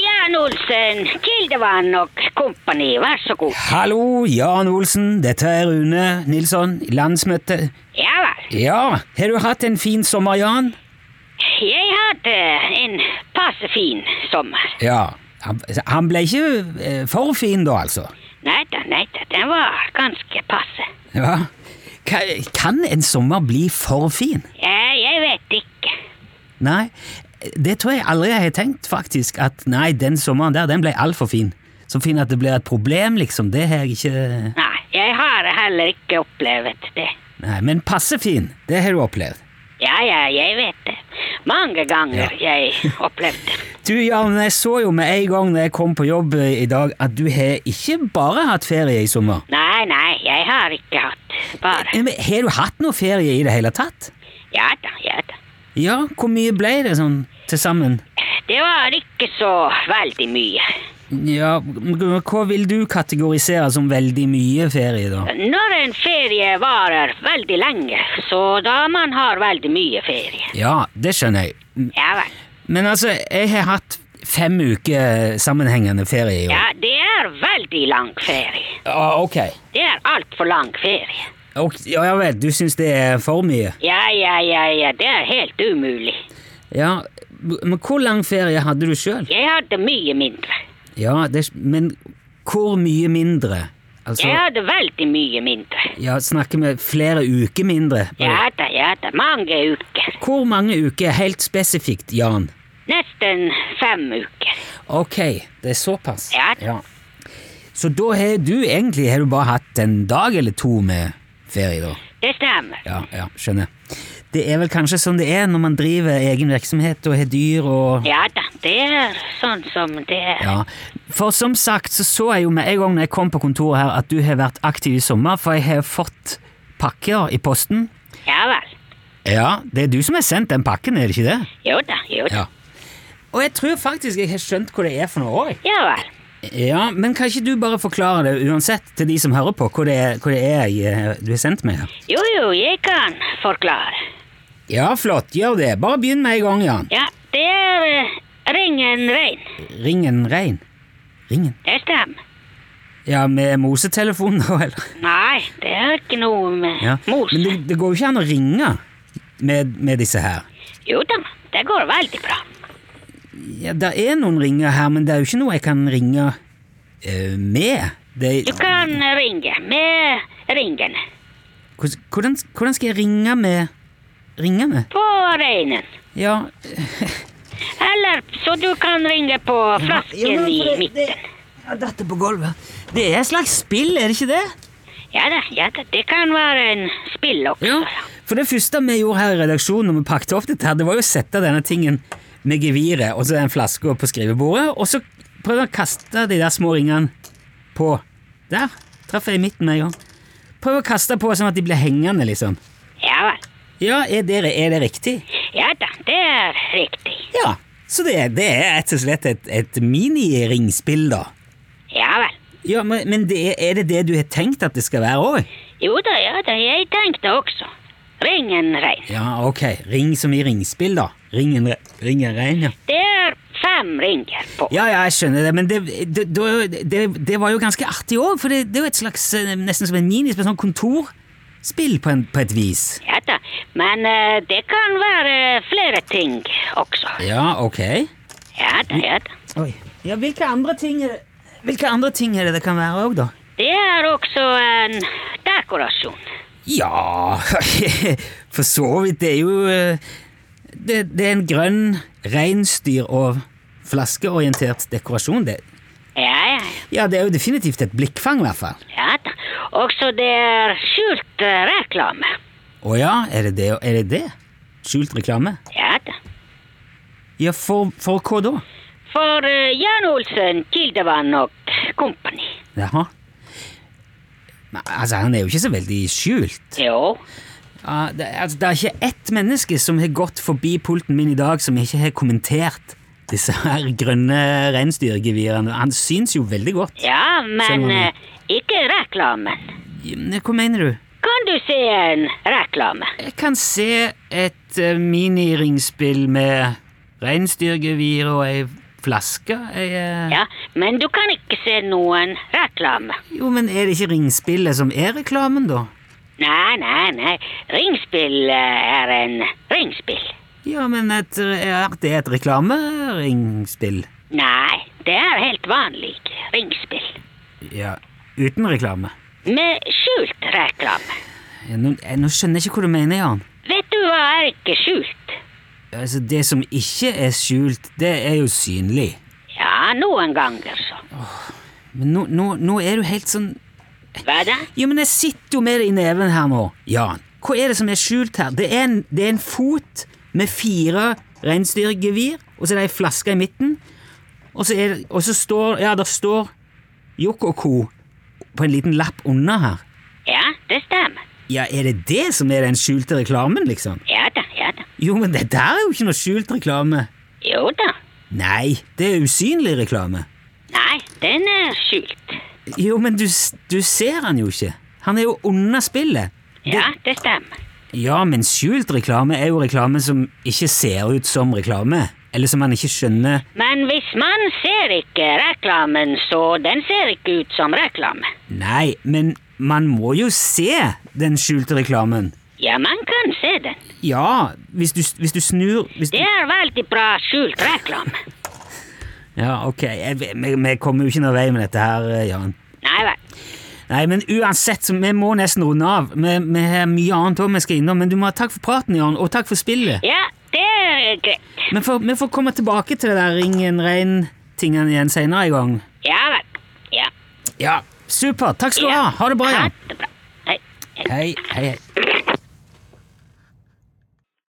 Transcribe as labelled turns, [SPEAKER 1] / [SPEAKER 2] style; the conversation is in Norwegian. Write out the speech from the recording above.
[SPEAKER 1] Jan Olsen, Kildevann og kompani, vær så god.
[SPEAKER 2] Hallo, Jan Olsen. Dette er Rune Nilsson, landsmøte.
[SPEAKER 1] Ja vel.
[SPEAKER 2] Ja, har du hatt en fin sommer, Jan?
[SPEAKER 1] Jeg hadde en passe fin sommer.
[SPEAKER 2] Ja. Han, han ble ikke eh, for fin da, altså?
[SPEAKER 1] Nei da, nei da, den var ganske passe.
[SPEAKER 2] Ja. Ka- Kan en sommer bli for fin?
[SPEAKER 1] Jeg, jeg vet ikke.
[SPEAKER 2] Nei, det tror jeg aldri jeg har tenkt, faktisk. At nei, den sommeren der, den ble altfor fin. Så fin at det blir et problem, liksom. Det har jeg ikke
[SPEAKER 1] Nei, jeg har heller ikke opplevd det.
[SPEAKER 2] Nei, Men passe fin, det har du opplevd.
[SPEAKER 1] Ja, ja, jeg vet det. Mange ganger jeg opplevde det.
[SPEAKER 2] Du, Jan, jeg så jo med en gang når jeg kom på jobb eh, i dag, at du har ikke bare hatt ferie i sommer.
[SPEAKER 1] Nei, nei, jeg har ikke hatt bare.
[SPEAKER 2] Eh, Men, har du hatt noe ferie i det hele tatt?
[SPEAKER 1] Ja da, ja da.
[SPEAKER 2] Ja, hvor mye ble det sånn til sammen?
[SPEAKER 1] Det var ikke så veldig mye.
[SPEAKER 2] Ja, m- hva vil du kategorisere som veldig mye ferie, da?
[SPEAKER 1] Når en ferie varer veldig lenge, så da man har veldig mye ferie.
[SPEAKER 2] Ja, det skjønner jeg. M-
[SPEAKER 1] Ja vel.
[SPEAKER 2] Men altså, jeg har hatt fem uker sammenhengende ferie i år.
[SPEAKER 1] Ja, det er veldig lang ferie.
[SPEAKER 2] Ah, ok.
[SPEAKER 1] Det er altfor lang ferie.
[SPEAKER 2] Ok, Ja, jeg vet, du syns det er for mye?
[SPEAKER 1] Ja, ja, ja, ja, det er helt umulig.
[SPEAKER 2] Ja, m- men hvor lang ferie hadde du sjøl?
[SPEAKER 1] Jeg hadde mye mindre.
[SPEAKER 2] Ja, det, er- men hvor mye mindre? Altså,
[SPEAKER 1] Jeg hadde veldig mye mindre.
[SPEAKER 2] ja, snakker vi flere uker mindre?
[SPEAKER 1] Ja da, ja da, mange uker.
[SPEAKER 2] Hvor mange uker helt spesifikt, Jan?
[SPEAKER 1] Nesten fem uker.
[SPEAKER 2] Ok, det er såpass.
[SPEAKER 1] Ja.
[SPEAKER 2] Så da har du egentlig har du bare hatt en dag eller to med ferie, da?
[SPEAKER 1] Det stemmer.
[SPEAKER 2] Ja, ja, skjønner. Det er vel kanskje sånn det er når man driver egen virksomhet og har dyr og
[SPEAKER 1] Ja da, det er sånn som det er.
[SPEAKER 2] Ja. For som sagt så så jeg jo med en gang når jeg kom på kontoret her at du har vært aktiv i sommer, for jeg har fått pakker i posten.
[SPEAKER 1] Ja vel.
[SPEAKER 2] Ja, det er du som har sendt den pakken, er det ikke det?
[SPEAKER 1] Jo da, jo da.
[SPEAKER 2] Ja. Og jeg tror faktisk jeg har skjønt hva det er for noe òg.
[SPEAKER 1] Ja vel.
[SPEAKER 2] Ja, men kan ikke du bare forklare det uansett til de som hører på, hva det er, hva det er jeg, eh, du har sendt meg? her?
[SPEAKER 1] Jo jo, jeg kan forklare.
[SPEAKER 2] Ja, flott, gjør det. Bare begynn med en gang, Jan.
[SPEAKER 1] Ja, det er eh, ringen rein.
[SPEAKER 2] Ringen rein. Ringen?
[SPEAKER 1] Det stemmer.
[SPEAKER 2] Ja, med mosetelefon, da, eller?
[SPEAKER 1] Nei, det er ikke noe med
[SPEAKER 2] Ja.
[SPEAKER 1] mos.
[SPEAKER 2] Men det, det går jo ikke an å ringe med, med disse her.
[SPEAKER 1] Jo da, det går veldig bra.
[SPEAKER 2] Ja, det er noen ringer her, men det er jo ikke noe jeg kan ringe eh, med. Det,
[SPEAKER 1] Du kan ringe med ringen
[SPEAKER 2] Hvordan- hvordan, hvordan skal jeg ringe med Ringe med?
[SPEAKER 1] på reinen.
[SPEAKER 2] Ja,
[SPEAKER 1] Eller så du kan ringe på flasken i midten.
[SPEAKER 2] Dette på gulvet. Det er et slags spill, er det ikke det?
[SPEAKER 1] Ja da, ja da, det kan være en spill også.
[SPEAKER 2] For det første vi gjorde her i redaksjonen når vi pakket opp dette, her, det var jo å sette denne tingen med geviret og så den flaska på skrivebordet, og så prøvde jeg å kaste de der små ringene på Der traff jeg i midten med en gang. Prøv å kaste på sånn at de blir hengende, liksom.
[SPEAKER 1] Ja vel.
[SPEAKER 2] Ja, er det, er det riktig?
[SPEAKER 1] Ja da, det er riktig.
[SPEAKER 2] Ja. Så det, det er rett og slett et, et miniringspill, da.
[SPEAKER 1] Ja vel.
[SPEAKER 2] Ja, Men, men det, er- er det det du har tenkt at det skal være òg?
[SPEAKER 1] Jo da, ja da, jeg tenkte også. Ringen rein.
[SPEAKER 2] Ja, ok. Ring som i ringspill, da. Ringen, re- ringen rein, ja.
[SPEAKER 1] Det er fem ringer på.
[SPEAKER 2] Ja, ja, jeg skjønner det, men det, det, det, det, det var jo ganske artig òg, for det, det er jo et slags eh, nesten som en minispill, sånn kontorspill på, en, på et vis.
[SPEAKER 1] Ja da, men eh, det kan være flere ting også.
[SPEAKER 2] Ja, ok.
[SPEAKER 1] Ja da, ja da.
[SPEAKER 2] Oi. Ja, hvilke andre ting er det, hvilke andre ting er det det kan være òg, da?
[SPEAKER 1] Det er også en dekorasjon.
[SPEAKER 2] Ja For så vidt. Det er jo eh, Det, det er en grønn reinsdyr- og flaskeorientert dekorasjon. Det,
[SPEAKER 1] Ja, ja,
[SPEAKER 2] ja, det er jo definitivt et blikkfang, i hvert fall.
[SPEAKER 1] ja da. Også det er skjult eh, reklame.
[SPEAKER 2] Å ja, er det det? Er det det? Skjult reklame?
[SPEAKER 1] Ja da.
[SPEAKER 2] Ja, for, for hva da?
[SPEAKER 1] For eh, Jan Olsen, Kildevann og kompani.
[SPEAKER 2] Jaha. Men, altså, han er jo ikke så veldig skjult.
[SPEAKER 1] Jo.
[SPEAKER 2] Ja, det, altså, det er ikke ett menneske som har gått forbi pulten min i dag som ikke har kommentert disse her grønne reinsdyrgevirene. Han syns jo veldig godt.
[SPEAKER 1] Ja, men
[SPEAKER 2] Sånn.
[SPEAKER 1] eh, ikke reklamen.
[SPEAKER 2] Men Hva mener du?
[SPEAKER 1] Kan du se en reklame?
[SPEAKER 2] Jeg kan se et eh, miniringspill med reinsdyrgevir og ei flasker. Jeg, eh,
[SPEAKER 1] Ja, men du kan ikke se noen reklame.
[SPEAKER 2] Jo, men er det ikke ringspillet som er reklamen, da?
[SPEAKER 1] Nei, nei, nei. Ringspill eh, er en ringspill.
[SPEAKER 2] Ja, men et, eh, er det et reklameringsspill?
[SPEAKER 1] Nei, det er helt vanlig ringspill.
[SPEAKER 2] Ja, uten reklame.
[SPEAKER 1] Med skjult reklame.
[SPEAKER 2] Ja, Nå, eh, nå skjønner jeg ikke hva du mener, Jan.
[SPEAKER 1] Vet du hva er ikke skjult?
[SPEAKER 2] Altså, det som ikke er skjult, det er jo synlig.
[SPEAKER 1] Ja, noen ganger så.
[SPEAKER 2] Men nå, nå, nå er du helt sånn
[SPEAKER 1] Hva da?
[SPEAKER 2] Jo, men jeg sitter jo med det i neven her nå, Jan. Hva er det som er skjult her? Det er en, det er en fot med fire reinsdyrgevir, og så er det ei flaske i midten, og så, er, det- og så står Ja, der står Jokk og co. på en liten lapp under her.
[SPEAKER 1] Ja, det stemmer.
[SPEAKER 2] Ja, er det det som er den skjulte reklamen, liksom?
[SPEAKER 1] Ja da, ja da.
[SPEAKER 2] Jo, men det der er jo ikke noe skjult reklame.
[SPEAKER 1] Jo da.
[SPEAKER 2] Nei, det er usynlig reklame.
[SPEAKER 1] Nei, den er skjult.
[SPEAKER 2] Jo, men du, s- du ser han jo ikke. Han er jo under spillet.
[SPEAKER 1] Ja, det stemmer.
[SPEAKER 2] Ja, men skjult reklame er jo reklame som ikke ser ut som reklame. Eller som man ikke skjønner.
[SPEAKER 1] Men hvis man ser ikke reklamen, så den ser ikke ut som reklame.
[SPEAKER 2] Nei, men man må jo se den skjulte reklamen.
[SPEAKER 1] Ja, man kan se den.
[SPEAKER 2] Ja, hvis du, s- hvis du snur hvis du...
[SPEAKER 1] Det er veldig bra skjult reklame.
[SPEAKER 2] Ja, ok. Jeg, vi, vi kommer jo ikke noen vei med dette her, eh, Jan.
[SPEAKER 1] Nei vel.
[SPEAKER 2] Nei, men uansett, så vi må nesten runde av. Vi, vi har mye annet også vi skal innom, men du må ha takk for praten, Jan, og takk for spillet.
[SPEAKER 1] Ja, det er greit.
[SPEAKER 2] Men for, vi får komme tilbake til det der ringen rein-tingene igjen senere i gang.
[SPEAKER 1] Ja vel. Ja.
[SPEAKER 2] Ja, super. Takk skal du ha. Ha det bra,
[SPEAKER 1] Ha
[SPEAKER 2] Jan.
[SPEAKER 1] det bra. Hei.
[SPEAKER 2] Hei, hei, hei.